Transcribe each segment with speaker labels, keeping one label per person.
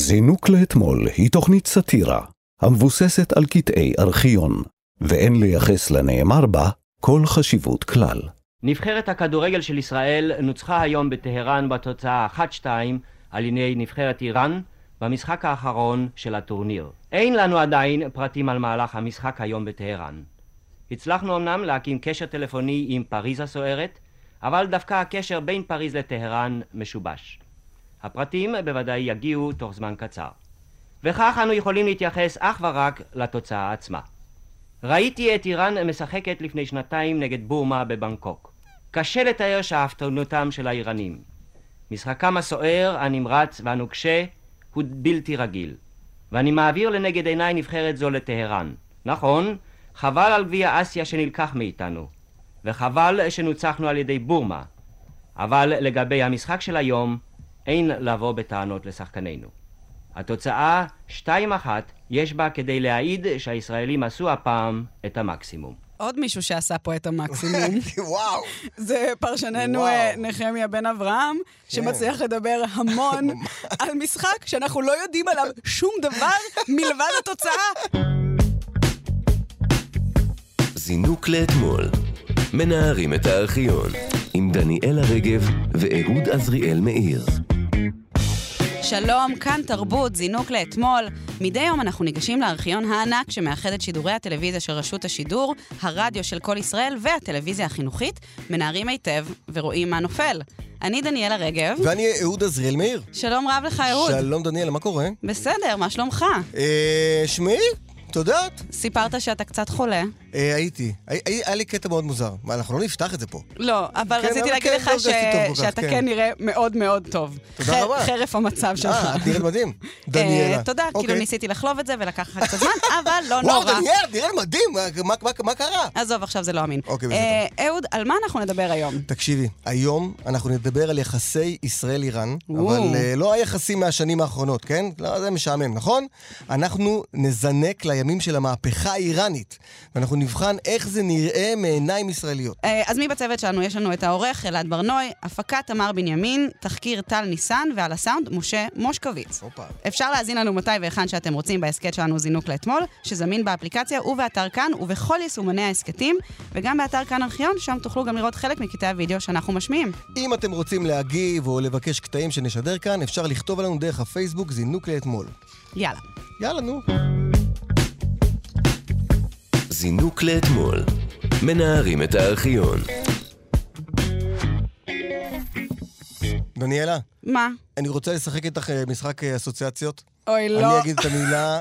Speaker 1: זינוק לאתמול היא תוכנית סאטירה המבוססת על קטעי ארכיון, ואין לייחס לנאמר בה כל חשיבות כלל.
Speaker 2: נבחרת הכדורגל של ישראל נוצחה היום בטהרן בתוצאה 1-2 על ידי נבחרת איראן במשחק האחרון של הטורניר. אין לנו עדיין פרטים על מהלך המשחק היום בטהרן. הצלחנו אמנם להקים קשר טלפוני עם פריז הסוערת, אבל דווקא הקשר בין פריז לטהרן משובש. הפרטים בוודאי יגיעו תוך זמן קצר. וכך אנו יכולים להתייחס אך ורק לתוצאה עצמה. ראיתי את איראן משחקת לפני שנתיים נגד בורמה בבנקוק. קשה לתאר שאפתנותם של האיראנים. משחקם הסוער, הנמרץ והנוקשה הוא בלתי רגיל. ואני מעביר לנגד עיניי נבחרת זו לטהרן. נכון, חבל על גביע אסיה שנלקח מאיתנו. וחבל שנוצחנו על ידי בורמה. אבל לגבי המשחק של היום, אין לבוא בטענות לשחקנינו. התוצאה 2-1 יש בה כדי להעיד שהישראלים עשו הפעם את המקסימום.
Speaker 3: עוד מישהו שעשה פה את המקסימום.
Speaker 4: וואו.
Speaker 3: זה פרשננו
Speaker 4: וואו.
Speaker 3: אה, נחמיה בן אברהם, שמצליח לדבר המון על משחק שאנחנו לא יודעים עליו שום דבר מלבד התוצאה.
Speaker 5: זינוק לאתמול. מנערים את הארכיון. עם דניאלה רגב ואהוד עזריאל מאיר.
Speaker 3: שלום, כאן תרבות, זינוק לאתמול. מדי יום אנחנו ניגשים לארכיון הענק שמאחד את שידורי הטלוויזיה של רשות השידור, הרדיו של כל ישראל והטלוויזיה החינוכית, מנערים היטב ורואים מה נופל. אני דניאלה רגב.
Speaker 4: ואני אהוד עזריאל מאיר.
Speaker 3: שלום רב לך, אהוד.
Speaker 4: שלום דניאלה, מה קורה?
Speaker 3: בסדר, מה שלומך?
Speaker 4: אה, שמעי, את יודעת,
Speaker 3: סיפרת שאתה קצת חולה.
Speaker 4: אה, הייתי. הי- הי- היה לי קטע מאוד מוזר. מה, אנחנו לא נפתח את זה פה.
Speaker 3: לא, אבל
Speaker 4: כן,
Speaker 3: רציתי
Speaker 4: אבל
Speaker 3: להגיד
Speaker 4: כן,
Speaker 3: לך
Speaker 4: לא הרגשתי
Speaker 3: ש-
Speaker 4: טוב כל כך,
Speaker 3: שאתה
Speaker 4: כן.
Speaker 3: כן נראה מאוד מאוד טוב.
Speaker 4: תודה
Speaker 3: חר-
Speaker 4: רבה.
Speaker 3: חרף המצב שלך.
Speaker 4: אה, את נראית מדהים. דניאלה.
Speaker 3: אה, תודה, כאילו
Speaker 4: אוקיי.
Speaker 3: ניסיתי לחלוב את זה ולקח לך קצת זמן, אבל לא
Speaker 4: וואו,
Speaker 3: נורא.
Speaker 4: דניאל, דניאל מדהים, מה- מה- מה- מה קרה?
Speaker 3: עזוב, עכשיו זה לא אמין.
Speaker 4: אוקיי,
Speaker 3: אה, אהוד, על מה אנחנו נדבר היום?
Speaker 4: תקשיבי, היום אנחנו נדבר על יחסי ישראל-איראן,
Speaker 3: וואו.
Speaker 4: אבל אה, לא היחסים מהשנים האחרונות, כן? לא, זה משעמם, נכון? אנחנו נזנק לימים של המהפכה האיראנית, ואנחנו נבחן איך זה נראה מעיניים ישראליות.
Speaker 3: אה, אז מי בצוות שלנו? יש לנו את העורך אלעד ברנוי, הפקה תמר בנימין, תחקיר טל ניסן, ועל הסאונד משה מושקוביץ.
Speaker 4: הופה.
Speaker 3: אפשר להאזין לנו מתי והיכן שאתם רוצים בהסכת שלנו זינוק לאתמול, שזמין באפליקציה ובאתר כאן ובכל יישומני ההסכתים, וגם באתר כאן ארכיון, שם תוכלו גם לראות חלק מקטעי הוידאו שאנחנו משמיעים.
Speaker 4: אם אתם רוצים להגיב או לבקש קטעים שנשדר כאן, אפשר לכתוב עלינו דרך הפייסבוק זינוק לאתמול.
Speaker 3: יאללה.
Speaker 4: יאללה, נו.
Speaker 5: זינוק לאתמול. מנערים את הארכיון.
Speaker 4: דניאלה,
Speaker 3: מה?
Speaker 4: אני רוצה לשחק איתך אה, משחק אה, אסוציאציות.
Speaker 3: אוי, לא.
Speaker 4: אני אגיד את המילה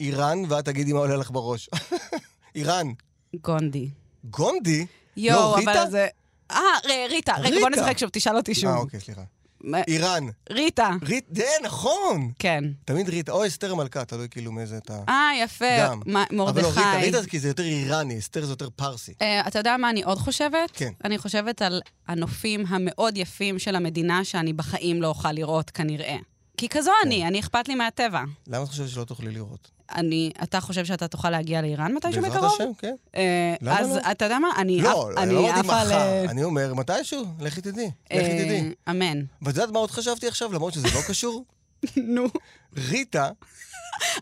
Speaker 4: איראן, ואת תגידי מה עולה לך בראש. איראן.
Speaker 3: גונדי.
Speaker 4: גונדי?
Speaker 3: יואו,
Speaker 4: לא, ריטה?
Speaker 3: אבל זה... אה, ר- ריטה. רגע, בוא
Speaker 4: ריטה.
Speaker 3: נשחק שוב, תשאל אותי שוב.
Speaker 4: אה, אוקיי, סליחה.
Speaker 3: מה-
Speaker 4: איראן.
Speaker 3: ריטה.
Speaker 4: ריט... זה נכון!
Speaker 3: כן.
Speaker 4: תמיד ריטה, או אסתר מלכה, תלוי כאילו מאיזה אתה...
Speaker 3: אה, יפה.
Speaker 4: גם.
Speaker 3: מה-
Speaker 4: אבל לא, ריטה,
Speaker 3: מרדכי.
Speaker 4: ריטה זה כי זה יותר איראני, אסתר זה יותר פרסי.
Speaker 3: אה, אתה יודע מה אני עוד חושבת?
Speaker 4: כן.
Speaker 3: אני חושבת על הנופים המאוד יפים של המדינה שאני בחיים לא אוכל לראות, כנראה. כי כזו
Speaker 4: כן.
Speaker 3: אני, אני אכפת לי מהטבע.
Speaker 4: למה את חושבת שלא תוכלי לראות?
Speaker 3: אני, אתה חושב שאתה תוכל להגיע לאיראן מתישהו
Speaker 4: בעזרת
Speaker 3: בקרוב?
Speaker 4: השם, כן.
Speaker 3: אה,
Speaker 4: למה
Speaker 3: אז
Speaker 4: לא?
Speaker 3: אתה יודע מה? אני
Speaker 4: לא,
Speaker 3: עף-
Speaker 4: אני לא
Speaker 3: אני
Speaker 4: אמרתי
Speaker 3: עפה על... אה,
Speaker 4: מחר, אני אומר מתישהו, לכי תדעי, לכי תדעי.
Speaker 3: אה, אמן.
Speaker 4: ואת יודעת מה עוד חשבתי עכשיו, למרות שזה לא קשור?
Speaker 3: נו.
Speaker 4: ריטה,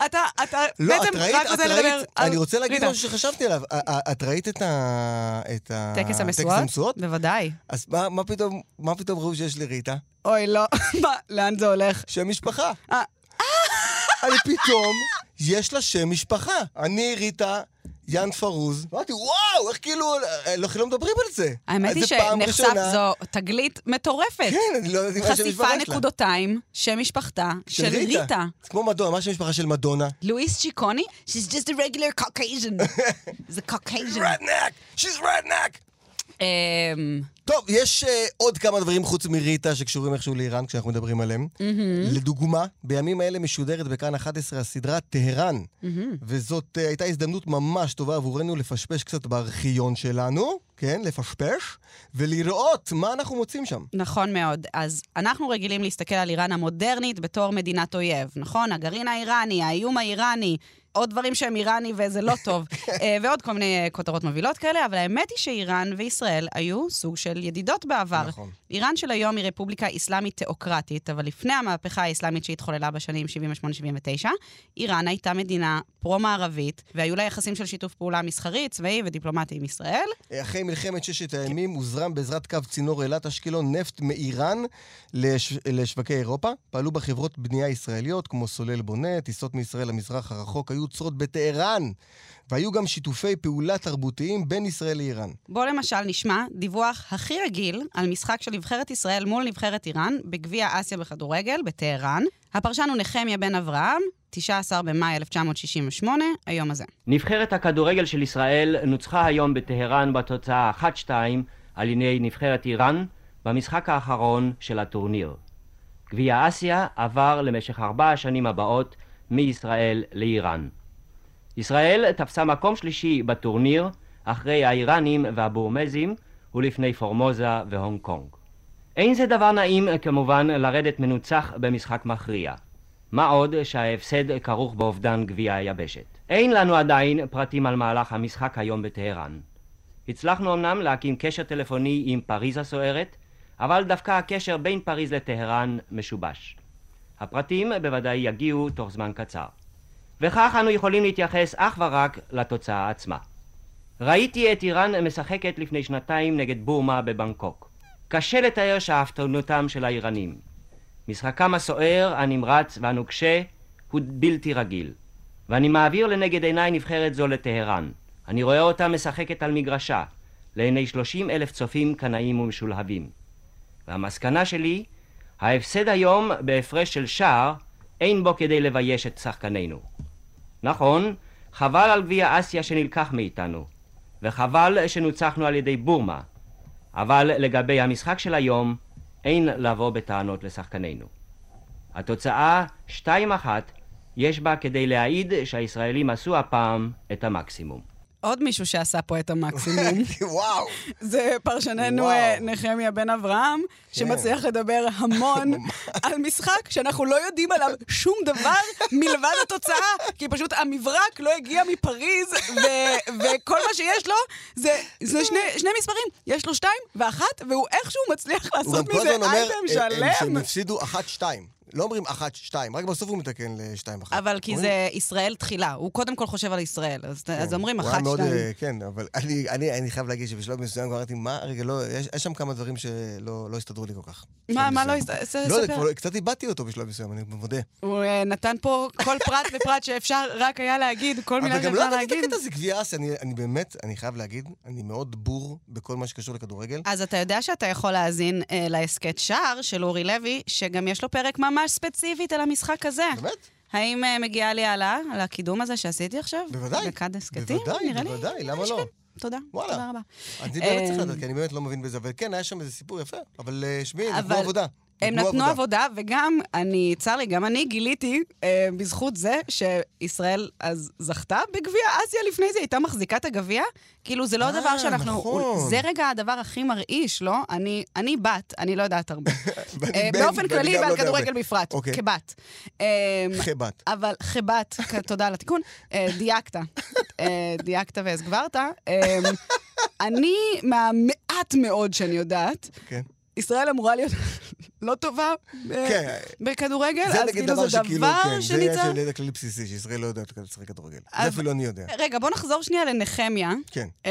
Speaker 3: אתה, אתה
Speaker 4: לא,
Speaker 3: בעצם
Speaker 4: את ראית,
Speaker 3: רק
Speaker 4: את
Speaker 3: רוצה לדבר
Speaker 4: ראית,
Speaker 3: על...
Speaker 4: אני רוצה להגיד
Speaker 3: ריטה.
Speaker 4: משהו שחשבתי עליו. א- א- את ראית את ה... את ה-
Speaker 3: טקס המשואות? בוודאי.
Speaker 4: אז מה- מה פתאום, מה פתאום ראו שיש לריטה?
Speaker 3: אוי, לא. מה, לאן זה הולך?
Speaker 4: שם משפחה.
Speaker 3: אה.
Speaker 4: אני פתאום, יש לה שם משפחה. אני ריטה, יאן פרוז. אמרתי, וואו, איך כאילו, אה, לא כאילו מדברים על זה.
Speaker 3: האמת
Speaker 4: אז
Speaker 3: היא
Speaker 4: זה פעם
Speaker 3: שנחשף,
Speaker 4: ראשונה.
Speaker 3: זו תגלית מטורפת.
Speaker 4: כן, אני לא יודעת מה שם
Speaker 3: חשיפה
Speaker 4: משפחה שלה.
Speaker 3: נקודותיים, שם משפחתה של ריטה.
Speaker 4: זה כמו מדונה, מה שם משפחה של מדונה?
Speaker 3: לואיס צ'יקוני, She's just a regular Caucasian. זה Caucasian.
Speaker 4: רדנק! She's רדנק!
Speaker 3: אמ,
Speaker 4: טוב, יש uh, עוד כמה דברים חוץ מריטה שקשורים איכשהו לאיראן כשאנחנו מדברים עליהם. Mm-hmm. לדוגמה, בימים האלה משודרת בכאן 11 הסדרה טהרן, אה, mm-hmm. וזאת uh, הייתה הזדמנות ממש טובה עבורנו לפשפש קצת בארכיון שלנו. כן, לפשפש, ולראות מה אנחנו מוצאים שם.
Speaker 3: נכון מאוד. אז אנחנו רגילים להסתכל על איראן המודרנית בתור מדינת אויב, נכון? הגרעין האיראני, האיום האיראני, עוד דברים שהם איראני וזה לא טוב, אה, ועוד כל מיני אה, כותרות מובילות כאלה, אבל האמת היא שאיראן וישראל היו סוג של ידידות בעבר.
Speaker 4: נכון.
Speaker 3: איראן של היום היא רפובליקה אסלאמית תיאוקרטית, אבל לפני המהפכה האסלאמית שהתחוללה בשנים 78-79, איראן הייתה מדינה פרו-מערבית, והיו לה יחסים של שיתוף פעולה מסחרי, צבאי ודיפלומטי עם ישראל.
Speaker 4: אה, אחרי מלחמת ששת הימים הוזרם בעזרת קו צינור אילת אשקלון נפט מאיראן לש... לשווקי אירופה. פעלו בה חברות בנייה ישראליות כמו סולל בונה, טיסות מישראל למזרח הרחוק היו עוצרות בטהרן, והיו גם שיתופי פעולה תרבותיים בין ישראל לאיראן.
Speaker 3: בואו למשל נשמע דיווח הכי רגיל על משחק של נבחרת ישראל מול נבחרת איראן בגביע אסיה בכדורגל בטהרן. הפרשן הוא נחמיה בן אברהם, 19 במאי 1968, היום הזה.
Speaker 2: נבחרת הכדורגל של ישראל נוצחה היום בטהרן בתוצאה 1-2 על ידי נבחרת איראן במשחק האחרון של הטורניר. גביע אסיה עבר למשך ארבע השנים הבאות מישראל לאיראן. ישראל תפסה מקום שלישי בטורניר אחרי האיראנים והבורמזים ולפני פורמוזה והונג קונג. אין זה דבר נעים כמובן לרדת מנוצח במשחק מכריע. מה עוד שההפסד כרוך באובדן גביע היבשת. אין לנו עדיין פרטים על מהלך המשחק היום בטהרן. הצלחנו אמנם להקים קשר טלפוני עם פריז הסוערת, אבל דווקא הקשר בין פריז לטהרן משובש. הפרטים בוודאי יגיעו תוך זמן קצר. וכך אנו יכולים להתייחס אך ורק לתוצאה עצמה. ראיתי את איראן משחקת לפני שנתיים נגד בורמה בבנקוק. קשה לתאר שאפתנותם של האיראנים. משחקם הסוער, הנמרץ והנוקשה הוא בלתי רגיל. ואני מעביר לנגד עיניי נבחרת זו לטהרן. אני רואה אותה משחקת על מגרשה, לעיני שלושים אלף צופים קנאים ומשולהבים. והמסקנה שלי, ההפסד היום בהפרש של שער, אין בו כדי לבייש את שחקנינו. נכון, חבל על גביע אסיה שנלקח מאיתנו, וחבל שנוצחנו על ידי בורמה, אבל לגבי המשחק של היום, אין לבוא בטענות לשחקנינו. התוצאה, 2-1, יש בה כדי להעיד שהישראלים עשו הפעם את המקסימום.
Speaker 3: עוד מישהו שעשה פה את המקסימום,
Speaker 4: וואו!
Speaker 3: זה פרשננו
Speaker 4: וואו. כן.
Speaker 3: אה, נחמיה בן אברהם, שמצליח לדבר המון על משחק שאנחנו לא יודעים עליו שום דבר מלבד התוצאה, כי פשוט המברק לא הגיע מפריז, ו- וכל מה שיש לו זה, זה שני, שני מספרים, יש לו שתיים ואחת, והוא איכשהו מצליח
Speaker 4: הוא גם
Speaker 3: לעשות
Speaker 4: כל הזמן
Speaker 3: מזה
Speaker 4: אומר
Speaker 3: אייטם
Speaker 4: אה, אה, שהם
Speaker 3: שלם.
Speaker 4: הפסידו 1-2. לא אומרים 1-2, רק בסוף הוא מתקן ל-2-1.
Speaker 3: אבל כי זה ישראל תחילה, הוא קודם כל חושב על ישראל, אז, אז אומרים
Speaker 4: אוקיי. כן. הוא היה
Speaker 3: אחת,
Speaker 4: מאוד,
Speaker 3: שתיים.
Speaker 4: אה, כן, אבל אני, אני, אני חייב להגיד שבשלב מסוים כבר אמרתי, מה, רגע, לא, יש, יש שם כמה דברים שלא לא הסתדרו לי כל כך.
Speaker 3: מה,
Speaker 4: בשלב
Speaker 3: מה לא
Speaker 4: מסוים.
Speaker 3: הסת- ס-
Speaker 4: לא יודע,
Speaker 3: ספר.
Speaker 4: כבר קצת איבדתי אותו בשלב מסוים, אני מודה.
Speaker 3: הוא אה, נתן פה כל פרט ופרט שאפשר רק היה להגיד, כל מילה
Speaker 4: אבל גם לא
Speaker 3: שאפשר
Speaker 4: ידעתי את
Speaker 3: להגיד.
Speaker 4: הקטע הזה, גביע אסיה, אני, אני באמת, אני חייב להגיד, אני מאוד בור בכל מה שקשור לכדורגל.
Speaker 3: אז אתה יודע שאתה יכול להאזין אה, להסכת שער של אורי לוי, שגם יש לו פרק ממש ספציפית על המשחק הזה.
Speaker 4: באמת?
Speaker 3: האם אה, מגיעה לי העלאה על הקידום הזה שעשיתי עכשיו?
Speaker 4: בוודאי.
Speaker 3: דקת הסכתים?
Speaker 4: בוודאי,
Speaker 3: נראה לי-
Speaker 4: בוודאי,
Speaker 3: נראה לי
Speaker 4: למה לא?
Speaker 3: שכן. תודה,
Speaker 4: וואלה.
Speaker 3: תודה רבה.
Speaker 4: אני באמת צריך
Speaker 3: אה,
Speaker 4: לדעת, כי אני באמת לא מבין בזה, אבל כן, היה שם איזה סיפור יפה, אבל אה, שמעי, הם נתנו
Speaker 3: אבל
Speaker 4: עבודה.
Speaker 3: הם נתנו עבודה, וגם, אני, צר לי, גם אני גיליתי, אה, בזכות זה שישראל אז זכתה בגביע אסיה לפני זה, הייתה מחזיקה את הגביע. כאילו, זה לא
Speaker 4: אה,
Speaker 3: דבר שאנחנו...
Speaker 4: נכון.
Speaker 3: זה רגע הדבר הכי מרעיש, לא? אני, אני בת, אני לא יודעת הרבה.
Speaker 4: ואני
Speaker 3: אה,
Speaker 4: בן,
Speaker 3: באופן
Speaker 4: ואני
Speaker 3: כללי
Speaker 4: גם לא
Speaker 3: ועל
Speaker 4: יודע
Speaker 3: כדורגל
Speaker 4: הרבה.
Speaker 3: בפרט,
Speaker 4: אוקיי.
Speaker 3: כבת. אה,
Speaker 4: חבת.
Speaker 3: אבל חבת, כ- תודה על התיקון, אה, דייקת. אה, דייקת והסגברת. אה, אני, מהמעט מאוד שאני יודעת,
Speaker 4: כן.
Speaker 3: ישראל אמורה להיות לא טובה אה,
Speaker 4: כן.
Speaker 3: בכדורגל, אז
Speaker 4: זה נגיד
Speaker 3: כאילו
Speaker 4: דבר
Speaker 3: זה
Speaker 4: שכאילו,
Speaker 3: דבר
Speaker 4: כן, זה עניין
Speaker 3: שניצר...
Speaker 4: של ידע כללי בסיסי, שישראל לא יודעת לשחק כדורגל. זה
Speaker 3: אבל-
Speaker 4: אפילו אני יודע.
Speaker 3: רגע, בוא נחזור שנייה לנחמיה,
Speaker 4: כן.
Speaker 3: אה,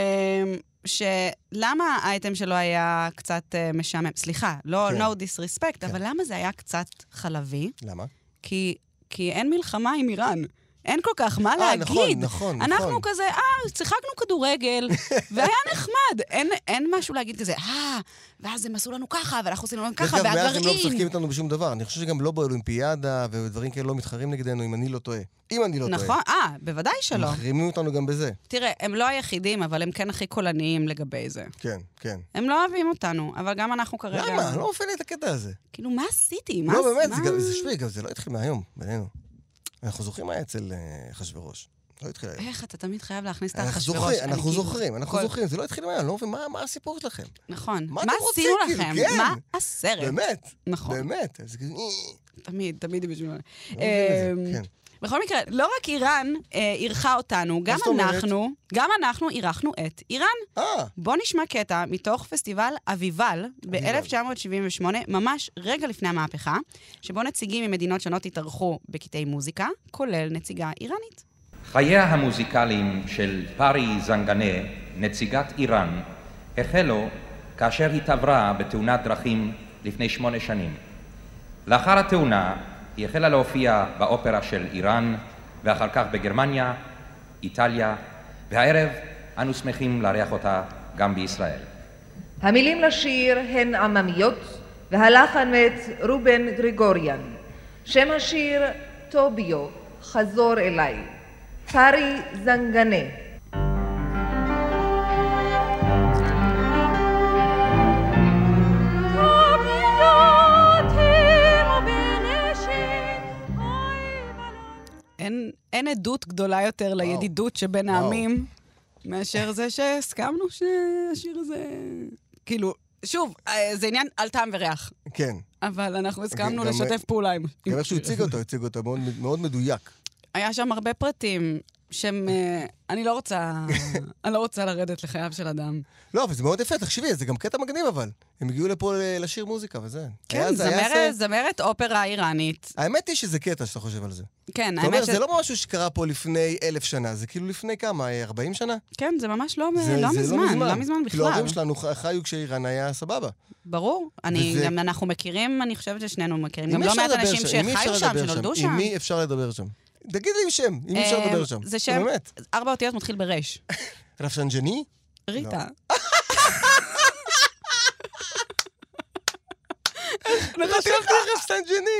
Speaker 3: שלמה האייטם שלו היה קצת אה, משעמם? סליחה, לא
Speaker 4: כן.
Speaker 3: no disrespect, אבל למה זה היה קצת חלבי?
Speaker 4: למה?
Speaker 3: כי, כי אין מלחמה עם איראן. אין כל כך מה
Speaker 4: אה,
Speaker 3: להגיד.
Speaker 4: נכון, נכון,
Speaker 3: אנחנו
Speaker 4: נכון.
Speaker 3: כזה, אה, שיחקנו כדורגל, והיה נחמד. אין, אין משהו להגיד כזה, אה, ואז הם עשו לנו ככה, ואנחנו עשינו לנו ככה,
Speaker 4: דרך אגב, מאז הם לא משחקים
Speaker 3: והגרעין.
Speaker 4: איתנו בשום דבר. אני חושב שגם לא באולימפיאדה ודברים כאלה לא מתחרים נגדנו, אם אני לא טועה. אם אני לא טועה.
Speaker 3: נכון, אה, בוודאי שלא.
Speaker 4: מחרימים אותנו גם בזה.
Speaker 3: תראה, הם לא היחידים, אבל הם כן הכי קולניים לגבי זה.
Speaker 4: כן, כן.
Speaker 3: הם לא אוהבים אותנו, אבל גם אנחנו כרגע...
Speaker 4: למה? אני לא מפעיל את הקטע הזה.
Speaker 3: כאילו, מה עשיתי? מה
Speaker 4: לא,
Speaker 3: עש-
Speaker 4: באמת,
Speaker 3: מה-
Speaker 4: זה גם- זה שמי, גם זה לא התחיל מהיום, בינינו. אנחנו זוכרים מה היה אצל אה, אחשוורוש. לא התחיל היום.
Speaker 3: איך אתה תמיד חייב להכניס את
Speaker 4: אנחנו
Speaker 3: האחשוורוש?
Speaker 4: זוכרים,
Speaker 3: אני
Speaker 4: אנחנו
Speaker 3: כאילו-
Speaker 4: זוכרים, אנחנו
Speaker 3: כל-
Speaker 4: זוכרים, זה לא התחיל מהיום, אני לא מבין, מה- מה הסיפור שלכם?
Speaker 3: נכון.
Speaker 4: מה
Speaker 3: מה
Speaker 4: אתם רוצים,
Speaker 3: עשינו
Speaker 4: כאילו?
Speaker 3: לכם?
Speaker 4: כן.
Speaker 3: מה הסרט?
Speaker 4: באמת,
Speaker 3: נכון,
Speaker 4: באמת. אז כאילו, אה,
Speaker 3: תמיד, תמיד בשביל...
Speaker 4: לא מבין את זה,
Speaker 3: אמ,
Speaker 4: כן.
Speaker 3: בכל מקרה, לא רק איראן אה, אירחה אותנו, גם
Speaker 4: זאת אומרת?
Speaker 3: אנחנו, גם אנחנו אירחנו את איראן.
Speaker 4: אה,
Speaker 3: בואו נשמע קטע מתוך פסטיבל אביבל ב-1978, ממש רגע לפני המהפכה, שבו נציגים ממדינות שונות התארחו בקטעי מוזיקה, כולל נציגה איראנית.
Speaker 6: חייה המוזיקליים של פארי זנגנה, נציגת איראן, החלו כאשר התעברה בתאונת דרכים לפני שמונה שנים. לאחר התאונה היא החלה להופיע באופרה של איראן, ואחר כך בגרמניה, איטליה, והערב אנו שמחים לארח אותה גם בישראל.
Speaker 7: המילים לשיר הן עממיות, והלחן מאת רובן גריגוריאן. שם השיר טוביו, חזור אליי. פארי זנגנה.
Speaker 3: אין, אין עדות גדולה יותר וואו. לידידות שבין
Speaker 4: וואו.
Speaker 3: העמים, מאשר זה שהסכמנו שהשיר הזה... כאילו, שוב, אה, זה עניין על טעם וריח,
Speaker 4: כן.
Speaker 3: אבל אנחנו הסכמנו
Speaker 4: גם-
Speaker 3: לשתף פעולה עם...
Speaker 4: גם איך שהוא הציג אותו, הציג אותו מאוד- מאוד מדויק.
Speaker 3: היה שם הרבה פרטים שהם... אה, אני לא רוצה... אני לא רוצה לרדת לחייו של אדם.
Speaker 4: לא, אבל זה מאוד יפה, תחשבי, זה גם קטע מגניב אבל. הם הגיעו לפה ל- לשיר מוזיקה וזה. היה-
Speaker 3: כן,
Speaker 4: זה היה
Speaker 3: זמרת,
Speaker 4: זה-
Speaker 3: זמרת אופרה איראנית.
Speaker 4: האמת היא שזה קטע שאתה חושב על זה.
Speaker 3: כן,
Speaker 4: אתה אומר,
Speaker 3: האמת ש...
Speaker 4: זה לא משהו שקרה פה לפני אלף שנה, זה כאילו לפני כמה, אה, 40 שנה?
Speaker 3: כן, זה ממש לא
Speaker 4: זה-
Speaker 3: לא
Speaker 4: זה
Speaker 3: מזמן, לא מזמן
Speaker 4: כאילו,
Speaker 3: בכלל.
Speaker 4: ההורים שלנו ח- חיו כשאיראן היה סבבה.
Speaker 3: ברור. אני,
Speaker 4: וזה-
Speaker 3: גם אנחנו מכירים, אני חושבת ששנינו מכירים.
Speaker 4: עם
Speaker 3: גם
Speaker 4: מי
Speaker 3: לא
Speaker 4: אפשר
Speaker 3: מעט
Speaker 4: לדבר
Speaker 3: אנשים
Speaker 4: שם? עם מי
Speaker 3: שחיו
Speaker 4: אפשר
Speaker 3: שם,
Speaker 4: לדבר
Speaker 3: שנולדו
Speaker 4: עם
Speaker 3: שם.
Speaker 4: מי אפשר לדבר שם? תגיד לי עם שם, אם אפשר
Speaker 3: אה,
Speaker 4: לדבר שם.
Speaker 3: זה שם-
Speaker 4: באמת.
Speaker 3: ארבע אותיות מתחיל ברייש.
Speaker 4: רפשנג'ני?
Speaker 3: ריטה.
Speaker 4: חשבתי לך רפשנג'ני.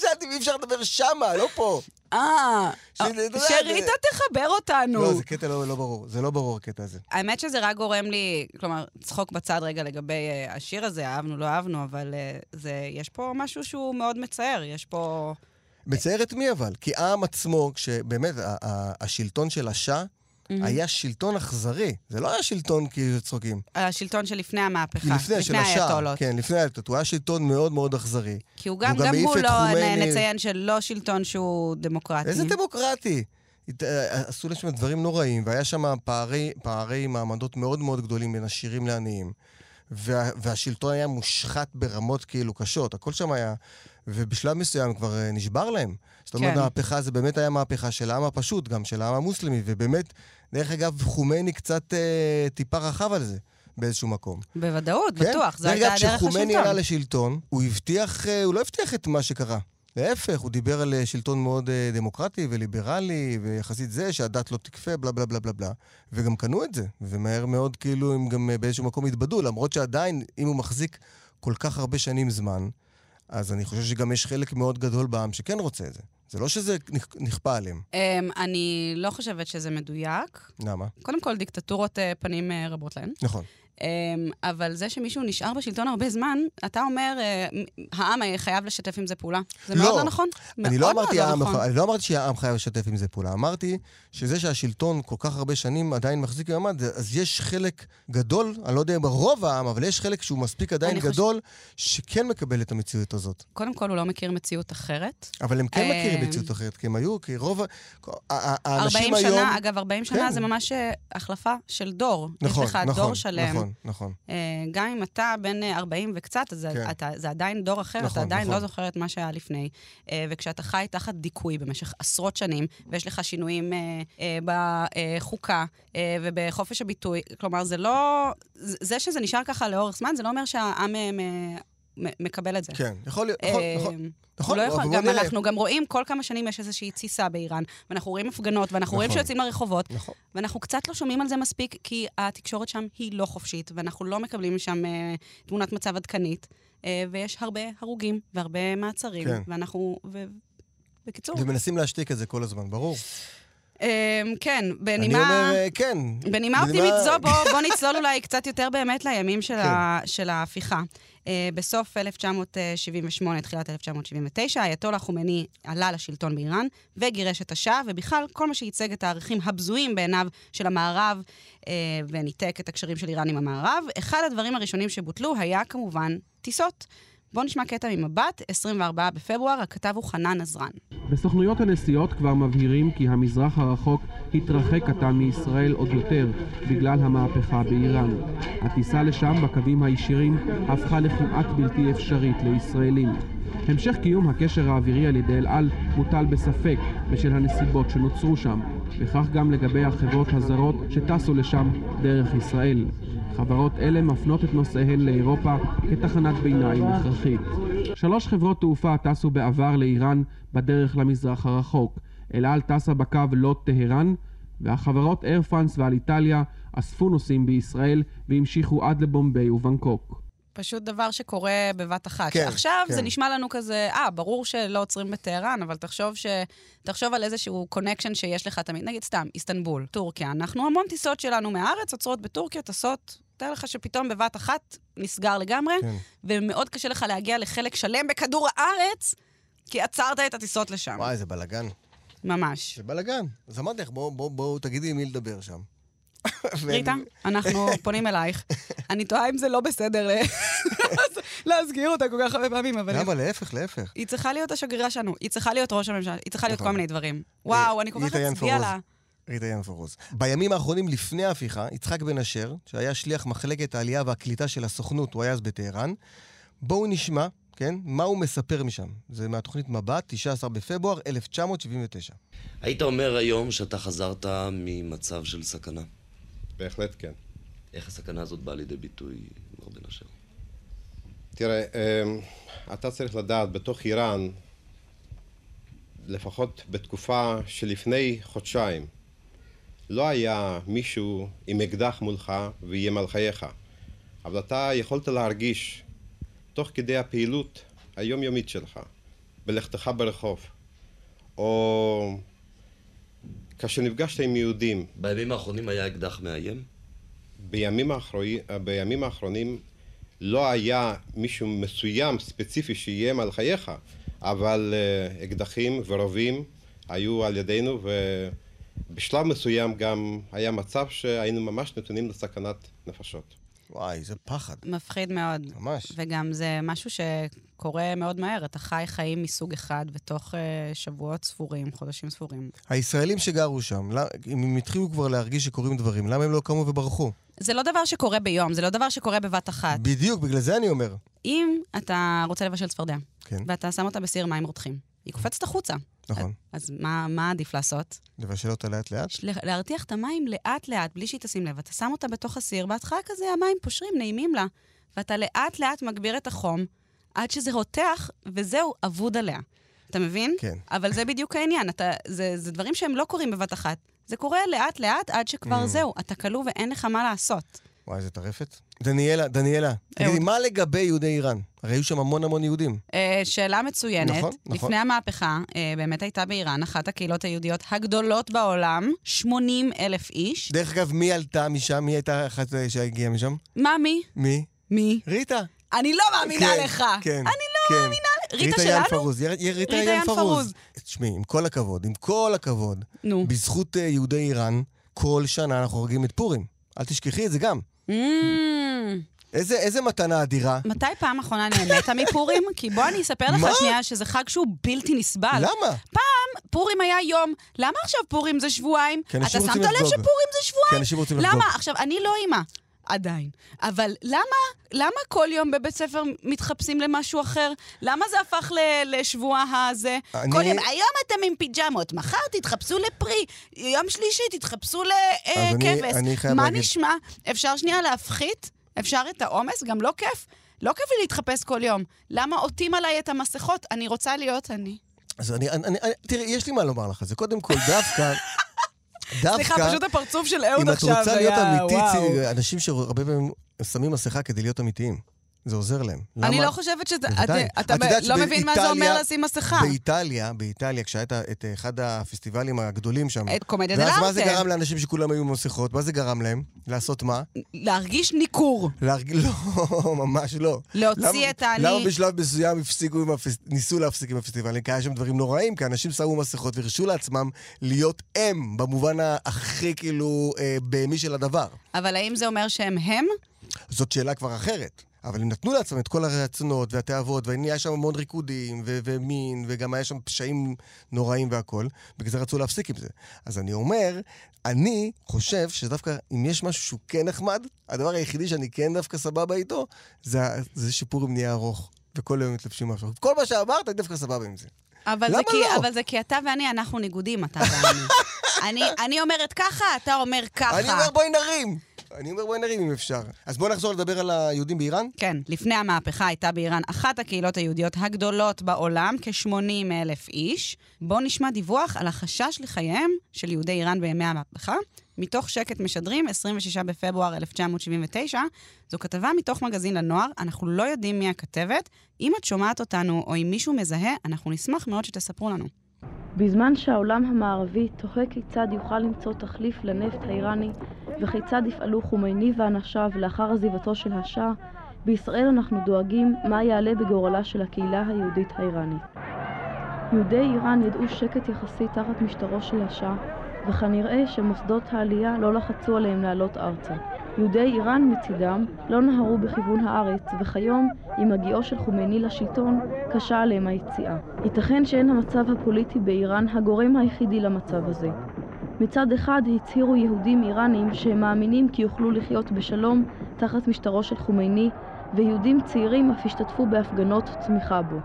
Speaker 4: שאלתי אם אי אפשר לדבר שמה, לא פה.
Speaker 3: אה,
Speaker 4: שזה- אתה יודע,
Speaker 3: שריטה תחבר אותנו.
Speaker 4: לא, זה קטע לא לא ברור, זה לא ברור הקטע הזה.
Speaker 3: האמת שזה רק גורם לי, כלומר, צחוק בצד רגע לגבי אה, השיר הזה, אהבנו, לא אהבנו, אבל אה, זה, יש פה משהו שהוא מאוד מצער, יש פה...
Speaker 4: מצער את מי אבל? כי העם עצמו, כשבאמת ה- ה- השלטון של השאה, היה שלטון אכזרי. זה לא היה שלטון כאילו צחוקים.
Speaker 3: השלטון שלפני המהפכה,
Speaker 4: לפני, של
Speaker 3: לפני
Speaker 4: השאה.
Speaker 3: האייתולות.
Speaker 4: כן, לפני האייתולות. הוא היה שלטון מאוד מאוד אכזרי.
Speaker 3: כי הוא גם,
Speaker 4: והוא גם
Speaker 3: גם
Speaker 4: העיף
Speaker 3: הוא
Speaker 4: את
Speaker 3: לא,
Speaker 4: חומייני.
Speaker 3: נ- נציין שלא שלטון שהוא דמוקרטי.
Speaker 4: איזה דמוקרטי. הת- אה, עשו להם שם דברים נוראים, והיה שם פערי, פערי מעמדות מאוד מאוד גדולים בין עשירים לעניים. וה, והשלטון היה מושחת ברמות כאילו קשות, הכל שם היה, ובשלב מסוים כבר אה, נשבר להם. זאת אומרת,
Speaker 3: כן.
Speaker 4: המהפכה זה באמת היה מהפכה של העם הפשוט, גם של העם המוסלמי, ובאמת, דרך אגב, חומייני קצת אה, טיפה רחב על זה באיזשהו מקום.
Speaker 3: בוודאות,
Speaker 4: כן?
Speaker 3: בטוח, זו
Speaker 4: דרך
Speaker 3: הייתה
Speaker 4: אגב,
Speaker 3: הדרך
Speaker 4: כשחומייני עלה
Speaker 3: לשלטון.
Speaker 4: לשלטון, הוא הבטיח, אה, הוא לא הבטיח את מה שקרה. להפך, הוא דיבר על אה, שלטון מאוד אה, דמוקרטי וליברלי, ויחסית זה שהדת לא תכפה, בלה בלה בלה בלה בלה. וגם קנו את זה, ומהר מאוד כאילו הם גם אה, באיזשהו מקום התבדו, למרות שעדיין, אם הוא מחזיק כל כך הרבה שנים זמן, אז אני חושב שגם יש חלק מאוד גדול בעם שכן רוצה את זה. זה לא שזה נכ- נכפה עליהם.
Speaker 3: אמ, אני לא חושבת שזה מדויק.
Speaker 4: למה?
Speaker 3: קודם כל, דיקטטורות אה, פנים אה, רבות להן.
Speaker 4: נכון.
Speaker 3: אמ, אבל זה שמישהו נשאר בשלטון הרבה זמן, אתה אומר, אה, מ- העם אה, חייב לשתף עם זה פעולה. זה
Speaker 4: לא.
Speaker 3: מאוד לא נכון.
Speaker 4: אני
Speaker 3: מאוד
Speaker 4: לא,
Speaker 3: מאוד
Speaker 4: אמרתי העם,
Speaker 3: נכון.
Speaker 4: יכול- אני לא אמרתי שהעם חייב לשתף עם זה פעולה, אמרתי שזה שהשלטון כל כך הרבה שנים עדיין מחזיק מעמד, אז יש חלק גדול, אני לא יודע אם רוב העם, אבל יש חלק שהוא מספיק עדיין
Speaker 3: אני חושב-
Speaker 4: גדול, שכן מקבל את המציאות הזאת.
Speaker 3: קודם כל, הוא לא מכיר מציאות אחרת.
Speaker 4: אבל הם כן
Speaker 3: אה,
Speaker 4: מכירים מציאות אחרת, כי הם היו, כי רוב ה- ה- ה- האנשים
Speaker 3: 40
Speaker 4: היום...
Speaker 3: שנה, אגב, 40 שנה
Speaker 4: כן.
Speaker 3: זה ממש אה, החלפה של דור.
Speaker 4: נכון,
Speaker 3: יש לך
Speaker 4: נכון,
Speaker 3: דור שלם.
Speaker 4: נכון, נכון.
Speaker 3: אה, גם אם אתה בן אה, 40 וקצת, אז זה-
Speaker 4: כן.
Speaker 3: אתה, זה עדיין דור אחר, אתה
Speaker 4: נכון,
Speaker 3: עדיין
Speaker 4: נכון.
Speaker 3: לא זוכר את מה שהיה לפני. אה, וכשאתה חי תחת דיכוי במשך עשרות שנים, ויש לך שינויים אה, אה, בחוקה אה, ובחופש הביטוי, כלומר, זה לא... זה זה שזה נשאר ככה לאורך זמן, זה לא אומר שהעם אה, מ- מ- מקבל את זה.
Speaker 4: כן, יכול להיות, נכון,
Speaker 3: אה,
Speaker 4: נכון.
Speaker 3: הוא
Speaker 4: נכון,
Speaker 3: לא
Speaker 4: אבל
Speaker 3: יכול,
Speaker 4: בוא
Speaker 3: גם
Speaker 4: נראה.
Speaker 3: אנחנו גם רואים כל כמה שנים יש איזושהי תסיסה באיראן, ואנחנו רואים הפגנות, ואנחנו רואים
Speaker 4: נכון.
Speaker 3: שיוצאים לרחובות,
Speaker 4: נכון.
Speaker 3: ואנחנו קצת לא שומעים על זה מספיק, כי התקשורת שם היא לא חופשית, ואנחנו לא מקבלים משם אה, תמונת מצב עדכנית, אה, ויש הרבה הרוגים והרבה מעצרים,
Speaker 4: כן.
Speaker 3: ואנחנו... ו... בקיצור,
Speaker 4: ומנסים להשתיק את זה כל הזמן, ברור.
Speaker 3: אה, כן,
Speaker 4: אני
Speaker 3: בנימה...
Speaker 4: אומר, אה, כן.
Speaker 3: בנימה אופטימית זו, בואו בוא נצלול אולי קצת יותר באמת לימים של, ה, של ההפיכה. Uh, בסוף 1978, תחילת 1979, האייתולה חומייני עלה לשלטון באיראן וגירש את השאה, ובכלל כל מה שייצג את הערכים הבזויים בעיניו של המערב, uh, וניתק את הקשרים של איראן עם המערב. אחד הדברים הראשונים שבוטלו היה כמובן טיסות. בואו נשמע קטע ממבט, 24 בפברואר, הכתב הוא חנן עזרן.
Speaker 8: בסוכנויות הנסיעות כבר מבהירים כי המזרח הרחוק התרחק עתה מישראל עוד יותר בגלל המהפכה באיראן. הטיסה לשם בקווים הישירים הפכה לכמעט בלתי אפשרית לישראלים. המשך קיום הקשר האווירי על ידי אל על מוטל בספק בשל הנסיבות שנוצרו שם, וכך גם לגבי החברות הזרות שטסו לשם דרך ישראל. חברות אלה מפנות את נוסעיהן לאירופה כתחנת ביניים הכרחית. שלוש חברות תעופה טסו בעבר לאיראן בדרך למזרח הרחוק. אל על טסה בקו לוט טהרן, והחברות אייר פרנס ועל איטליה אספו נוסעים בישראל והמשיכו עד לבומביי ובנקוק.
Speaker 3: פשוט דבר שקורה בבת אחת.
Speaker 4: כן,
Speaker 3: עכשיו
Speaker 4: כן.
Speaker 3: זה נשמע לנו כזה, אה, ברור שלא עוצרים בטהרן, אבל תחשוב, ש... תחשוב על איזשהו קונקשן שיש לך תמיד. נגיד סתם, איסטנבול, טורקיה. אנחנו המון טיסות שלנו מהארץ עוצרות בטורקיה, טסות, תאר לך שפתאום בבת אחת נסגר לגמרי,
Speaker 4: כן.
Speaker 3: ומאוד קשה לך להגיע לחלק שלם בכדור הארץ, כי עצרת את הטיסות לשם.
Speaker 4: וואי, זה בלאגן.
Speaker 3: ממש.
Speaker 4: זה בלאגן. אז אמרתי לך, בואו בוא, בוא, תגידי עם מי לדבר שם. ואני-
Speaker 3: ריטה, אנחנו פונים אלייך. אני תוהה אם זה לא בסדר ל- להזכיר אותה כל כך הרבה פעמים, אבל...
Speaker 4: למה? לא, להפך, להפך.
Speaker 3: היא צריכה להיות השגרירה שלנו, היא צריכה להיות ראש הממשלה, היא צריכה להיות
Speaker 4: נכון.
Speaker 3: כל מיני דברים. וואו, אני כל כך
Speaker 4: ריטה
Speaker 3: אצביע
Speaker 4: ינפורוז.
Speaker 3: לה.
Speaker 4: ריטה ינפורוז. בימים האחרונים לפני ההפיכה, יצחק בן אשר, שהיה שליח מחלקת העלייה והקליטה של הסוכנות, הוא היה אז בטהרן, בואו נשמע, כן, מה הוא מספר משם. זה מהתוכנית מבט, 19 בפברואר 1979.
Speaker 9: היית אומר היום שאתה חזרת ממצב של סכנה.
Speaker 10: בהחלט כן.
Speaker 9: איך הסכנה הזאת באה לידי ביטוי, מר בן אשר?
Speaker 10: תראה, אמ, אתה צריך לדעת, בתוך איראן, לפחות בתקופה שלפני חודשיים, לא היה מישהו עם אקדח מולך ואיים על חייך, אבל אתה יכולת להרגיש, תוך כדי הפעילות היומיומית שלך, בלכתך ברחוב, או כאשר נפגשת עם יהודים,
Speaker 9: בימים האחרונים היה אקדח מאיים?
Speaker 10: בימים, האחרוי, בימים האחרונים לא היה מישהו מסוים, ספציפי, שאיים על חייך, אבל אה, אקדחים ורובים היו על ידינו, ובשלב מסוים גם היה מצב שהיינו ממש נתונים לסכנת נפשות.
Speaker 4: וואי, זה פחד,
Speaker 3: מפחיד מאוד.
Speaker 4: ממש.
Speaker 3: וגם זה משהו שקורה מאוד מהר, אתה חי חיים מסוג אחד בתוך אה, שבועות ספורים, חודשים ספורים.
Speaker 4: הישראלים שגרו שם, למה- אם הם התחילו כבר להרגיש שקורים דברים, למה הם לא קמו וברחו?
Speaker 3: זה לא דבר שקורה ביום, זה לא דבר שקורה בבת אחת.
Speaker 4: בדיוק, בגלל זה אני אומר.
Speaker 3: אם אתה רוצה לבשל צפרדע,
Speaker 4: כן,
Speaker 3: ואתה שם אותה בסיר מים רותחים, היא קופצת החוצה.
Speaker 4: נכון.
Speaker 3: אז מה, מה עדיף לעשות?
Speaker 4: לבשל אותה לאט-לאט.
Speaker 3: ש- לה- להרתיח את המים לאט-לאט, בלי שהיא תשים לב. אתה שם אותה בתוך הסיר, בהתחלה כזה המים פושרים, נעימים לה. ואתה לאט-לאט מגביר את החום, עד שזה רותח, וזהו, אבוד עליה. אתה מבין?
Speaker 4: כן.
Speaker 3: אבל זה בדיוק העניין, אתה, זה, זה דברים שהם לא קורים בבת אחת. זה קורה לאט-לאט עד
Speaker 4: Mm.
Speaker 3: שכבר זהו, אתה כלוא ואין לך מה לעשות.
Speaker 4: וואי, זה טרפת. דניאלה,
Speaker 3: אה,
Speaker 4: דניאלה, תגידי,
Speaker 3: אהוד.
Speaker 4: מה לגבי יהודי איראן? הרי היו שם המון המון יהודים.
Speaker 3: אה, שאלה מצוינת.
Speaker 4: נכון, נכון.
Speaker 3: לפני המהפכה, אה, באמת הייתה באיראן אחת הקהילות היהודיות הגדולות בעולם, 80 אלף איש.
Speaker 4: דרך אגב, מי עלתה משם? מי הייתה אחת אה, שהגיעה משם?
Speaker 3: מה מי?
Speaker 4: מי?
Speaker 3: מי?
Speaker 4: ריטה.
Speaker 3: אני לא מאמינה לך.
Speaker 4: כן.
Speaker 3: אני
Speaker 4: לא כן. מאמינה.
Speaker 3: ריטה שלנו?
Speaker 4: פרוז, יר- יר- ריטה
Speaker 3: ריטה
Speaker 4: יאן
Speaker 3: יאן פרוז.
Speaker 4: פרוז. תשמעי, עם כל הכבוד, עם כל הכבוד,
Speaker 3: נו.
Speaker 4: בזכות אה, יהודי איראן, כל שנה אנחנו חוגגים את פורים. אל תשכחי את זה גם.
Speaker 3: Mm.
Speaker 4: איזה איזה מתנה אדירה.
Speaker 3: מתי פעם אחרונה נהנית מפורים? כי בוא אני אספר לך
Speaker 4: מה?
Speaker 3: שנייה שזה חג שהוא בלתי נסבל.
Speaker 4: למה?
Speaker 3: פורים היה יום, למה עכשיו פורים זה שבועיים?
Speaker 4: כי
Speaker 3: אתה
Speaker 4: אנשים
Speaker 3: שמת
Speaker 4: רוצים
Speaker 3: לב
Speaker 4: לחגוג.
Speaker 3: שפורים זה
Speaker 4: כי
Speaker 3: שבועיים?
Speaker 4: אנשים רוצים לחגוג.
Speaker 3: למה? עכשיו, אני לא אימא. עדיין. אבל למה, למה כל יום בבית ספר מתחפשים למשהו אחר? למה זה הפך ל, לשבוע הזה?
Speaker 4: אני-
Speaker 3: כל יום, היום אתם עם פיג'מות, מחר תתחפשו לפרי, יום שלישי תתחפשו לכבש.
Speaker 4: אז אני-
Speaker 3: אה,
Speaker 4: אני
Speaker 3: כבש.
Speaker 4: חייב
Speaker 3: מה
Speaker 4: להגיד-
Speaker 3: נשמע? אפשר שנייה להפחית? אפשר את העומס? גם לא כיף? לא כיף לי להתחפש כל יום. למה עוטים עליי את המסכות? אני רוצה להיות אני.
Speaker 4: אז אני, אני, אני, תראי, יש לי מה לומר לך על זה. קודם כל, דווקא, דווקא...
Speaker 3: סליחה, פשוט הפרצוף של אהוד
Speaker 4: אם את
Speaker 3: עכשיו
Speaker 4: רוצה להיות
Speaker 3: היה-
Speaker 4: אמיתית,
Speaker 3: וואו.
Speaker 4: זה- אנשים שהרבה פעמים שמים מסכה כדי להיות אמיתיים. זה עוזר להם.
Speaker 3: אני
Speaker 4: למה-
Speaker 3: לא חושבת שזה...
Speaker 4: בוודאי.
Speaker 3: אתה- אתה
Speaker 4: את יודעת
Speaker 3: לא מבין מה זה אומר
Speaker 4: שבאיטליה-
Speaker 3: לשים מסכה.
Speaker 4: באיטליה, באיטליה, כשהיה את ה- את אחד הפסטיבלים הגדולים
Speaker 3: את
Speaker 4: שם.
Speaker 3: אה, קומדיה
Speaker 4: ואז מה זה
Speaker 3: דלארטה.
Speaker 4: גרם לאנשים שכולם היו עם מסכות? מה זה גרם להם? לעשות מה?
Speaker 3: להרגיש ניכור.
Speaker 4: להרג... לא, ממש לא.
Speaker 3: להוציא
Speaker 4: למה-
Speaker 3: את העני-
Speaker 4: למה בשלב מסוים הפסיקו עם הפס... ניסו להפסיק עם הפסטיבלים? כי היה שם דברים נוראים, כי אנשים שמו מסכות והרשו לעצמם להיות הם, במובן הכי כאילו אה, בהמי של הדבר.
Speaker 3: אבל האם זה אומר שהם הם?
Speaker 4: זאת שאלה כבר אחרת. אבל הם נתנו לעצמם את כל הרצונות והתאוות, והיה שם המון ריקודים, ו- ומין, וגם היה שם פשעים נוראים והכול, בגלל זה רצו להפסיק עם זה. אז אני אומר, אני חושב שדווקא אם יש משהו שהוא כן נחמד, הדבר היחידי שאני כן דווקא סבבה איתו, זה, ה- זה שיפור עם נהיה ארוך, וכל היום מתלבשים משהו. כל מה שאמרת, אני דווקא סבבה עם זה.
Speaker 3: אבל זה,
Speaker 4: למה
Speaker 3: כי,
Speaker 4: לא?
Speaker 3: אבל זה כי אתה ואני, אנחנו ניגודים, אתה ואני. אני, אני אומרת ככה, אתה אומר ככה.
Speaker 4: אני לא אומר בואי נרים! אני אומר בואי נרים אם אפשר. אז בואו נחזור לדבר על היהודים באיראן.
Speaker 3: כן, לפני המהפכה הייתה באיראן אחת הקהילות היהודיות הגדולות בעולם, כ-80 אלף איש. בואו נשמע דיווח על החשש לחייהם של יהודי איראן בימי המהפכה. מתוך שקט משדרים, 26 בפברואר 1979. זו כתבה מתוך מגזין לנוער, אנחנו לא יודעים מי הכתבת. אם את שומעת אותנו, או אם מישהו מזהה, אנחנו נשמח מאוד שתספרו לנו.
Speaker 11: בזמן שהעולם המערבי תוהה כיצד יוכל למצוא תחליף לנפט האיראני וכיצד יפעלו חומייני ואנשיו לאחר עזיבתו של השאה, בישראל אנחנו דואגים מה יעלה בגורלה של הקהילה היהודית האיראנית. יהודי איראן ידעו שקט יחסי תחת משטרו של השאה, וכנראה שמוסדות העלייה לא לחצו עליהם לעלות ארצה. יהודי איראן מצידם לא נהרו בכיוון הארץ, וכיום, עם הגיעו של חומייני לשלטון, קשה עליהם היציאה. ייתכן שאין המצב הפוליטי באיראן הגורם היחידי למצב הזה. מצד אחד הצהירו יהודים איראנים שהם מאמינים כי יוכלו לחיות בשלום תחת משטרו של חומייני, ויהודים צעירים אף השתתפו בהפגנות תמיכה בו.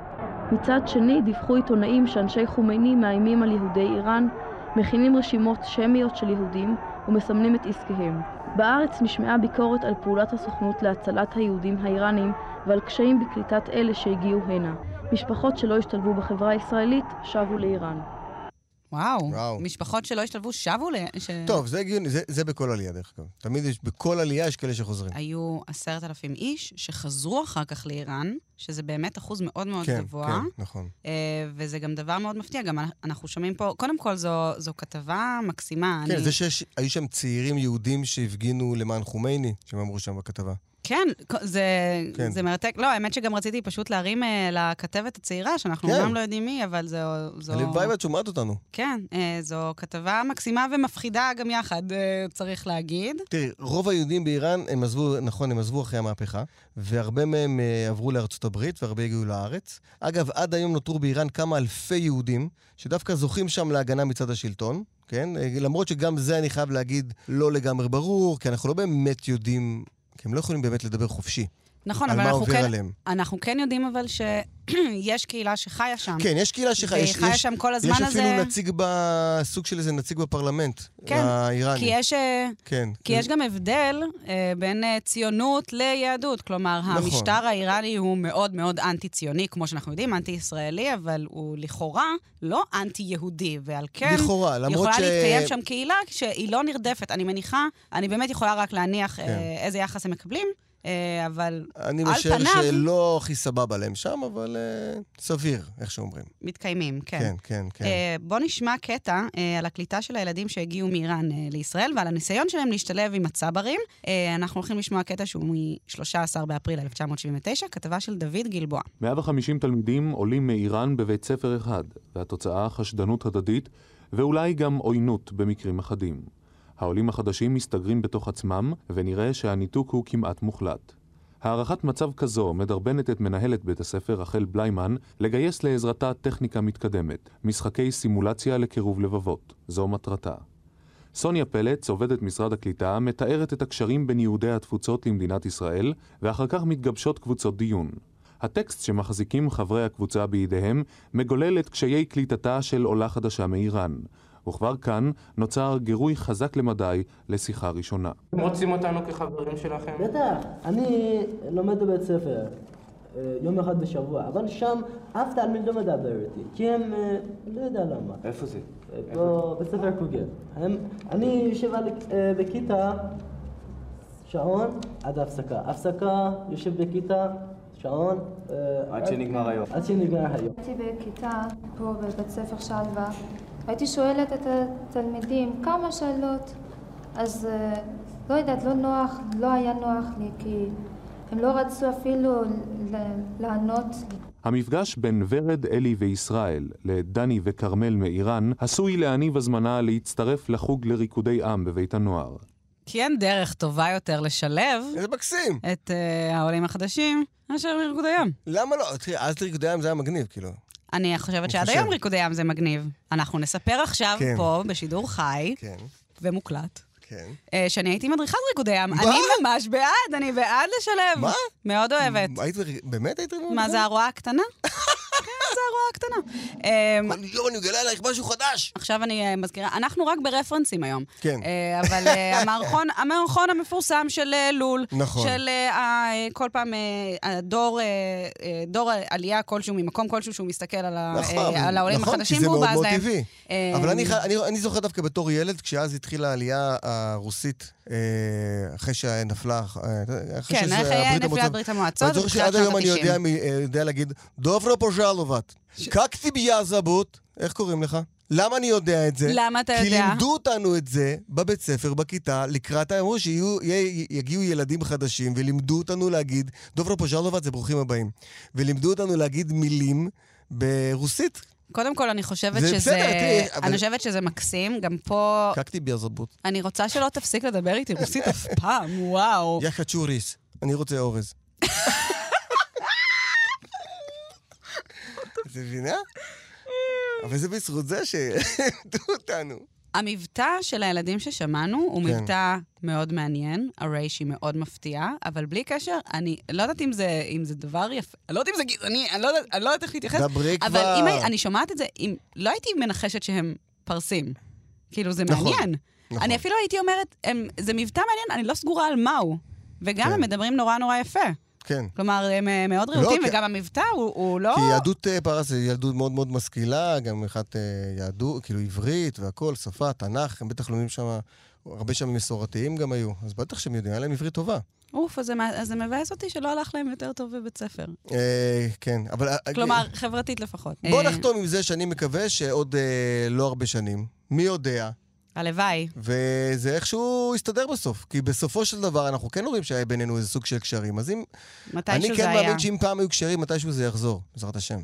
Speaker 11: מצד שני דיווחו עיתונאים שאנשי חומייני מאיימים על יהודי איראן, מכינים רשימות שמיות של יהודים ומסמנים את עסקיהם. בארץ נשמעה ביקורת על פעולת הסוכנות להצלת היהודים האיראנים ועל קשיים בקליטת אלה שהגיעו הנה. משפחות שלא השתלבו בחברה הישראלית שבו לאיראן.
Speaker 3: וואו,
Speaker 4: וואו.
Speaker 3: משפחות שלא השתלבו שבו ל... ש...
Speaker 4: טוב, זה הגיוני, זה, זה בכל עלייה דרך אגב. תמיד יש, בכל עלייה יש כאלה שחוזרים.
Speaker 3: היו עשרת אלפים איש שחזרו אחר כך לאיראן, שזה באמת אחוז מאוד מאוד
Speaker 4: כן,
Speaker 3: גבוה.
Speaker 4: כן, נכון.
Speaker 3: אה, וזה גם דבר מאוד מפתיע, גם אנ- אנחנו שומעים פה, קודם כל זו, זו כתבה מקסימה.
Speaker 4: כן,
Speaker 3: אני,
Speaker 4: זה שהיו שם צעירים יהודים שהפגינו למען חומייני, שהם אמרו שם בכתבה.
Speaker 3: כן, כ- זה,
Speaker 4: כן.
Speaker 3: זה מרתק. לא, האמת שגם רציתי פשוט להרים אה, לכתבת הצעירה, שאנחנו
Speaker 4: כן.
Speaker 3: אומנם לא יודעים מי, אבל זו... זו
Speaker 4: הלוואי ואת שומעת אותנו.
Speaker 3: כן, אה, זו כתבה מקסימה ומפחידה גם יחד, אה, צריך להגיד.
Speaker 4: תראי, רוב היהודים באיראן, הם עזבו, נכון, הם עזבו אחרי המהפכה, והרבה מהם אה, עברו לארצות הברית, והרבה הגיעו לארץ. אגב, עד היום נותרו באיראן כמה אלפי יהודים, שדווקא זוכים שם להגנה מצד השלטון. כן? אה, למרות שגם זה אני חייב להגיד לא לגמרי ברור, כי אנחנו לא באמת יודעים, כי הם לא יכולים באמת לדבר חופשי.
Speaker 3: נכון,
Speaker 4: על
Speaker 3: אבל
Speaker 4: מה
Speaker 3: אנחנו
Speaker 4: עובר
Speaker 3: כן,
Speaker 4: עליהם.
Speaker 3: אנחנו כן יודעים אבל שיש קהילה שחיה שם.
Speaker 4: כן, יש קהילה שחיה.
Speaker 3: והיא
Speaker 4: יש-
Speaker 3: חיה
Speaker 4: יש-
Speaker 3: שם כל הזמן
Speaker 4: יש
Speaker 3: הזה.
Speaker 4: אפילו נציג ב... סוג של איזה נציג בפרלמנט
Speaker 3: כן,
Speaker 4: האיראני.
Speaker 3: כי יש, אה,
Speaker 4: כן.
Speaker 3: כי יש גם הבדל אה, בין אה, ציונות ליהדות. כלומר,
Speaker 4: נכון.
Speaker 3: המשטר האיראני הוא מאוד מאוד אנטי-ציוני, כמו שאנחנו יודעים, אנטי-ישראלי, אבל הוא לכאורה לא אנטי-יהודי, ועל כן...
Speaker 4: לכאורה, למרות
Speaker 3: יכולה
Speaker 4: ש-
Speaker 3: להתקיים שם קהילה שהיא לא נרדפת. אני מניחה, אני באמת יכולה רק להניח אה,
Speaker 4: כן.
Speaker 3: איזה יחס הם מקבלים, אה, אבל
Speaker 4: אני
Speaker 3: על
Speaker 4: משער
Speaker 3: פניו-
Speaker 4: שלא הכי סבבה להם שם, אבל אה, סביר, איך שאומרים.
Speaker 3: מתקיימים, כן.
Speaker 4: כן, כן, כן.
Speaker 3: כן. בוא נשמע קטע אה, על הקליטה של הילדים שהגיעו מאיראן אה, לישראל ועל הניסיון שלהם להשתלב עם הצברים. אה, אנחנו הולכים לשמוע קטע שהוא מ-13 באפריל 1979, כתבה של דוד גלבוע.
Speaker 12: 150 תלמידים עולים מאיראן בבית ספר אחד, והתוצאה חשדנות הדדית, ואולי גם עוינות במקרים אחדים. העולים החדשים מסתגרים בתוך עצמם, ונראה שהניתוק הוא כמעט מוחלט. הערכת מצב כזו מדרבנת את מנהלת בית הספר רחל בליימן לגייס לעזרתה טכניקה מתקדמת, משחקי סימולציה לקירוב לבבות. זו מטרתה. סוניה פלץ, עובדת משרד הקליטה, מתארת את הקשרים בין יהודי התפוצות למדינת ישראל, ואחר כך מתגבשות קבוצות דיון. הטקסט שמחזיקים חברי הקבוצה בידיהם מגולל את קשיי קליטתה של עולה חדשה מאיראן, וכבר כאן נוצר גירוי חזק למדי לשיחה ראשונה.
Speaker 13: אתם רוצים אותנו כחברים שלכם?
Speaker 14: בטח, אני לומד בבית ספר אה, יום אחד בשבוע, אבל שם אף תלמיד לא מדבר איתי, כי הם, אה, לא יודע למה.
Speaker 13: איפה זה?
Speaker 14: אה, פה, בית ספר קוגל. הם, אני יושב על- אה, בכיתה שעון עד הפסקה. הפסקה, יושב בכיתה, שעון. אה,
Speaker 15: עד שנגמר היום.
Speaker 14: עד שנגמר היום.
Speaker 16: הייתי בכיתה פה בבית ספר שלווה, הייתי שואלת את התלמידים כמה שאלות, אז אה, לא יודעת, לא נוח, לא היה נוח לי, כי הם לא רצו אפילו ל- לענות לי.
Speaker 12: המפגש בין ורד, אלי וישראל לדני וכרמל מאיראן עשוי להניב הזמנה להצטרף לחוג לריקודי עם בבית הנוער.
Speaker 3: כי אין דרך טובה יותר לשלב...
Speaker 4: איזה מקסים!
Speaker 3: את אה, העולים החדשים מאשר לריקודי ים.
Speaker 4: למה לא? תראי, אז ריקודי ים זה היה מגניב, כאילו.
Speaker 3: אני חושבת שעד
Speaker 4: חושב.
Speaker 3: היום ריקודי ים זה מגניב. אנחנו נספר עכשיו
Speaker 4: כן.
Speaker 3: פה, בשידור חי
Speaker 4: כן,
Speaker 3: ומוקלט,
Speaker 4: כן.
Speaker 3: אה, שאני הייתי מדריכת ריקודי ים. אני ממש בעד, אני בעד לשלב.
Speaker 4: מה?
Speaker 3: מאוד אוהבת.
Speaker 4: היית, באמת היית ריבון?
Speaker 3: מה זה הרועה הקטנה? כן, זה הרועה הקטנה. אמ,
Speaker 4: כל יום אני מגלה עלייך משהו חדש.
Speaker 3: עכשיו אני אה, מזכירה, אנחנו רק ברפרנסים היום.
Speaker 4: כן.
Speaker 3: אה, אבל אה, המערכון, המערכון המפורסם של אה, לול,
Speaker 4: נכון.
Speaker 3: של אה, ה- כל פעם אה, הדור, אה, אה, דור עלייה כלשהו, ממקום כלשהו שהוא מסתכל על ה-
Speaker 4: נכון,
Speaker 3: אה, על העולים
Speaker 4: נכון,
Speaker 3: החדשים
Speaker 4: כי זה
Speaker 3: והוא
Speaker 4: מאוד
Speaker 3: בז
Speaker 4: מאוד
Speaker 3: להם.
Speaker 4: טבעי.
Speaker 3: אה,
Speaker 4: אבל אני, ח- אני, אני זוכר דווקא בתור ילד, כשאז התחילה העלייה הרוסית, אה, אחרי שנפלה... אה, אחרי
Speaker 3: כן,
Speaker 4: שזה-
Speaker 3: אחרי
Speaker 4: הברית
Speaker 3: נפלה
Speaker 4: המועצות-
Speaker 3: ברית המועצות,
Speaker 4: ואני זוכר
Speaker 3: בתחילת
Speaker 4: שעד היום
Speaker 3: שנות
Speaker 4: אני יודע,
Speaker 3: ה-תשעים.
Speaker 4: מ- אה, יודע להגיד, דוברו פוז'לובת, קקתי ביה זבות, איך קוראים לך? למה אני יודע את זה?
Speaker 3: למה אתה
Speaker 4: כי
Speaker 3: יודע?
Speaker 4: לימדו אותנו את זה בבית ספר, בכיתה, לקראת, ה- אמרו שיגיעו ילדים חדשים, ולימדו אותנו להגיד, דוברו פוז'לובת זה ברוכים הבאים, ולימדו אותנו להגיד מילים ברוסית.
Speaker 3: קודם כל, אני חושבת
Speaker 4: זה
Speaker 3: שזה...
Speaker 4: בסדר, תראי, אבל-
Speaker 3: אני חושבת שזה מקסים, גם פה...
Speaker 4: קקתי ביה זבות.
Speaker 3: אני רוצה שלא תפסיק לדבר איתי רוסית אף פעם, וואו.
Speaker 4: יחד צ'וריס, אני רוצה אורז. את מבינה? אבל זה בזכות זה שלימדו אותנו.
Speaker 3: המבטא של הילדים ששמענו הוא
Speaker 4: כן.
Speaker 3: מבטא מאוד מעניין, הריישי מאוד מפתיע, אבל בלי קשר, אני לא יודעת אם זה, אם זה דבר יפה, אני לא יודעת אם זה גזעני, אני לא יודעת, אני לא יודעת איך להתייחס.
Speaker 4: דברי
Speaker 3: אבל
Speaker 4: כבר.
Speaker 3: אם הי- אני שומעת את זה, אם, לא הייתי מנחשת שהם פרסים. כאילו, זה
Speaker 4: נכון,
Speaker 3: מעניין.
Speaker 4: נכון.
Speaker 3: אני אפילו הייתי אומרת, הם, זה מבטא מעניין, אני לא סגורה על מהו. וגם
Speaker 4: כן.
Speaker 3: הם מדברים נורא נורא יפה.
Speaker 4: כן.
Speaker 3: כלומר, הם אה, מאוד
Speaker 4: לא,
Speaker 3: רהוטים,
Speaker 4: כי-
Speaker 3: וגם המבטא הוא, הוא לא...
Speaker 4: כי יהדות אה, פרס היא יהדות מאוד מאוד משכילה, גם אחת אה, יהדות, כאילו עברית והכול, שפה, תנ"ך, הם בטח לומדים שם, הרבה שם מסורתיים גם היו, אז בטח שהם יודעים, היה להם עברית טובה.
Speaker 3: אוף, אז זה, מה- אז זה מבאס אותי שלא הלך להם יותר טוב בבית ספר.
Speaker 4: אה, כן, אבל... אה,
Speaker 3: כלומר, חברתית לפחות.
Speaker 4: בוא
Speaker 3: אה,
Speaker 4: נחתום עם זה שאני מקווה שעוד אה, לא הרבה שנים, מי יודע,
Speaker 3: הלוואי.
Speaker 4: וזה איכשהו יסתדר בסוף. כי בסופו של דבר אנחנו כן רואים שהיה בינינו איזה סוג של קשרים. אז אם...
Speaker 3: מתישהו
Speaker 4: אני
Speaker 3: זה
Speaker 4: כן
Speaker 3: היה.
Speaker 4: מאמין שאם פעם היו קשרים, מתישהו זה יחזור, בעזרת השם.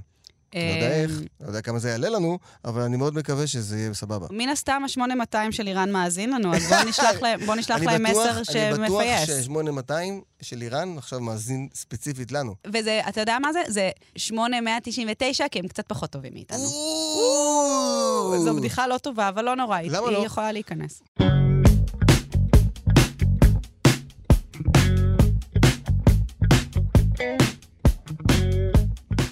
Speaker 4: לא יודע
Speaker 3: אה,
Speaker 4: איך, לא יודע כמה זה יעלה לנו, אבל אני מאוד מקווה שזה יהיה סבבה.
Speaker 3: מן הסתם ה-8200 של איראן מאזין לנו, אז בואו נשלח להם, בוא נשלח
Speaker 4: אני
Speaker 3: להם
Speaker 4: בטוח-
Speaker 3: מסר
Speaker 4: אני בטוח
Speaker 3: שמפייס.
Speaker 4: ש-8200 של איראן עכשיו מאזין ספציפית לנו.
Speaker 3: וזה, אתה יודע מה זה? זה 8199, כי הם קצת פחות טובים מאיתנו. זו בדיחה לא טובה, אבל לא נורא, היא
Speaker 4: למה
Speaker 3: היא
Speaker 4: לא?
Speaker 3: יכולה להיכנס.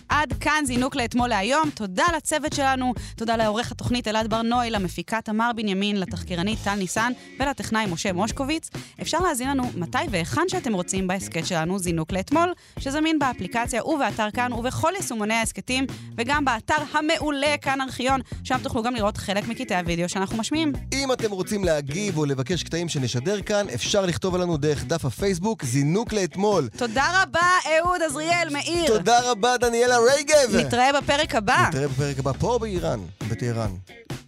Speaker 3: עד כאן זינוק לאתמול להיום. תודה לצוות שלנו, תודה לעורך התוכנית אלעד ברנוי, למפיקה תמר בנימין, לתחקירנית טל ניסן ולטכנאי משה מושקוביץ. אפשר להזין לנו מתי והיכן שאתם רוצים בהסכת שלנו זינוק לאתמול, שזמין באפליקציה ובאתר כאן ובכל יישומוני ההסכתים, וגם באתר המעולה כאן ארכיון, שם תוכלו גם לראות חלק מקטעי הוידאו שאנחנו משמיעים.
Speaker 4: אם אתם רוצים להגיב או לבקש קטעים שנשדר כאן, אפשר לכתוב עלינו דרך דף הפייסבוק, זינוק לאתמול.
Speaker 3: תודה רבה, אהוד עזריאל מאיר.
Speaker 4: תודה רבה, דניאלה רגב!
Speaker 3: נתראה בפרק הבא,
Speaker 4: נתראה בפרק הבא פה באיראן, בטהרן.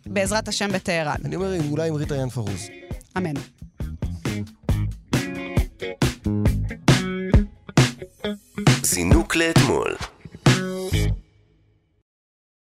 Speaker 3: בעזרת השם בטהרן.
Speaker 4: אני אומר, אולי עם ריטה ינפרוז.
Speaker 3: אמן.
Speaker 5: זינוק לאתמול.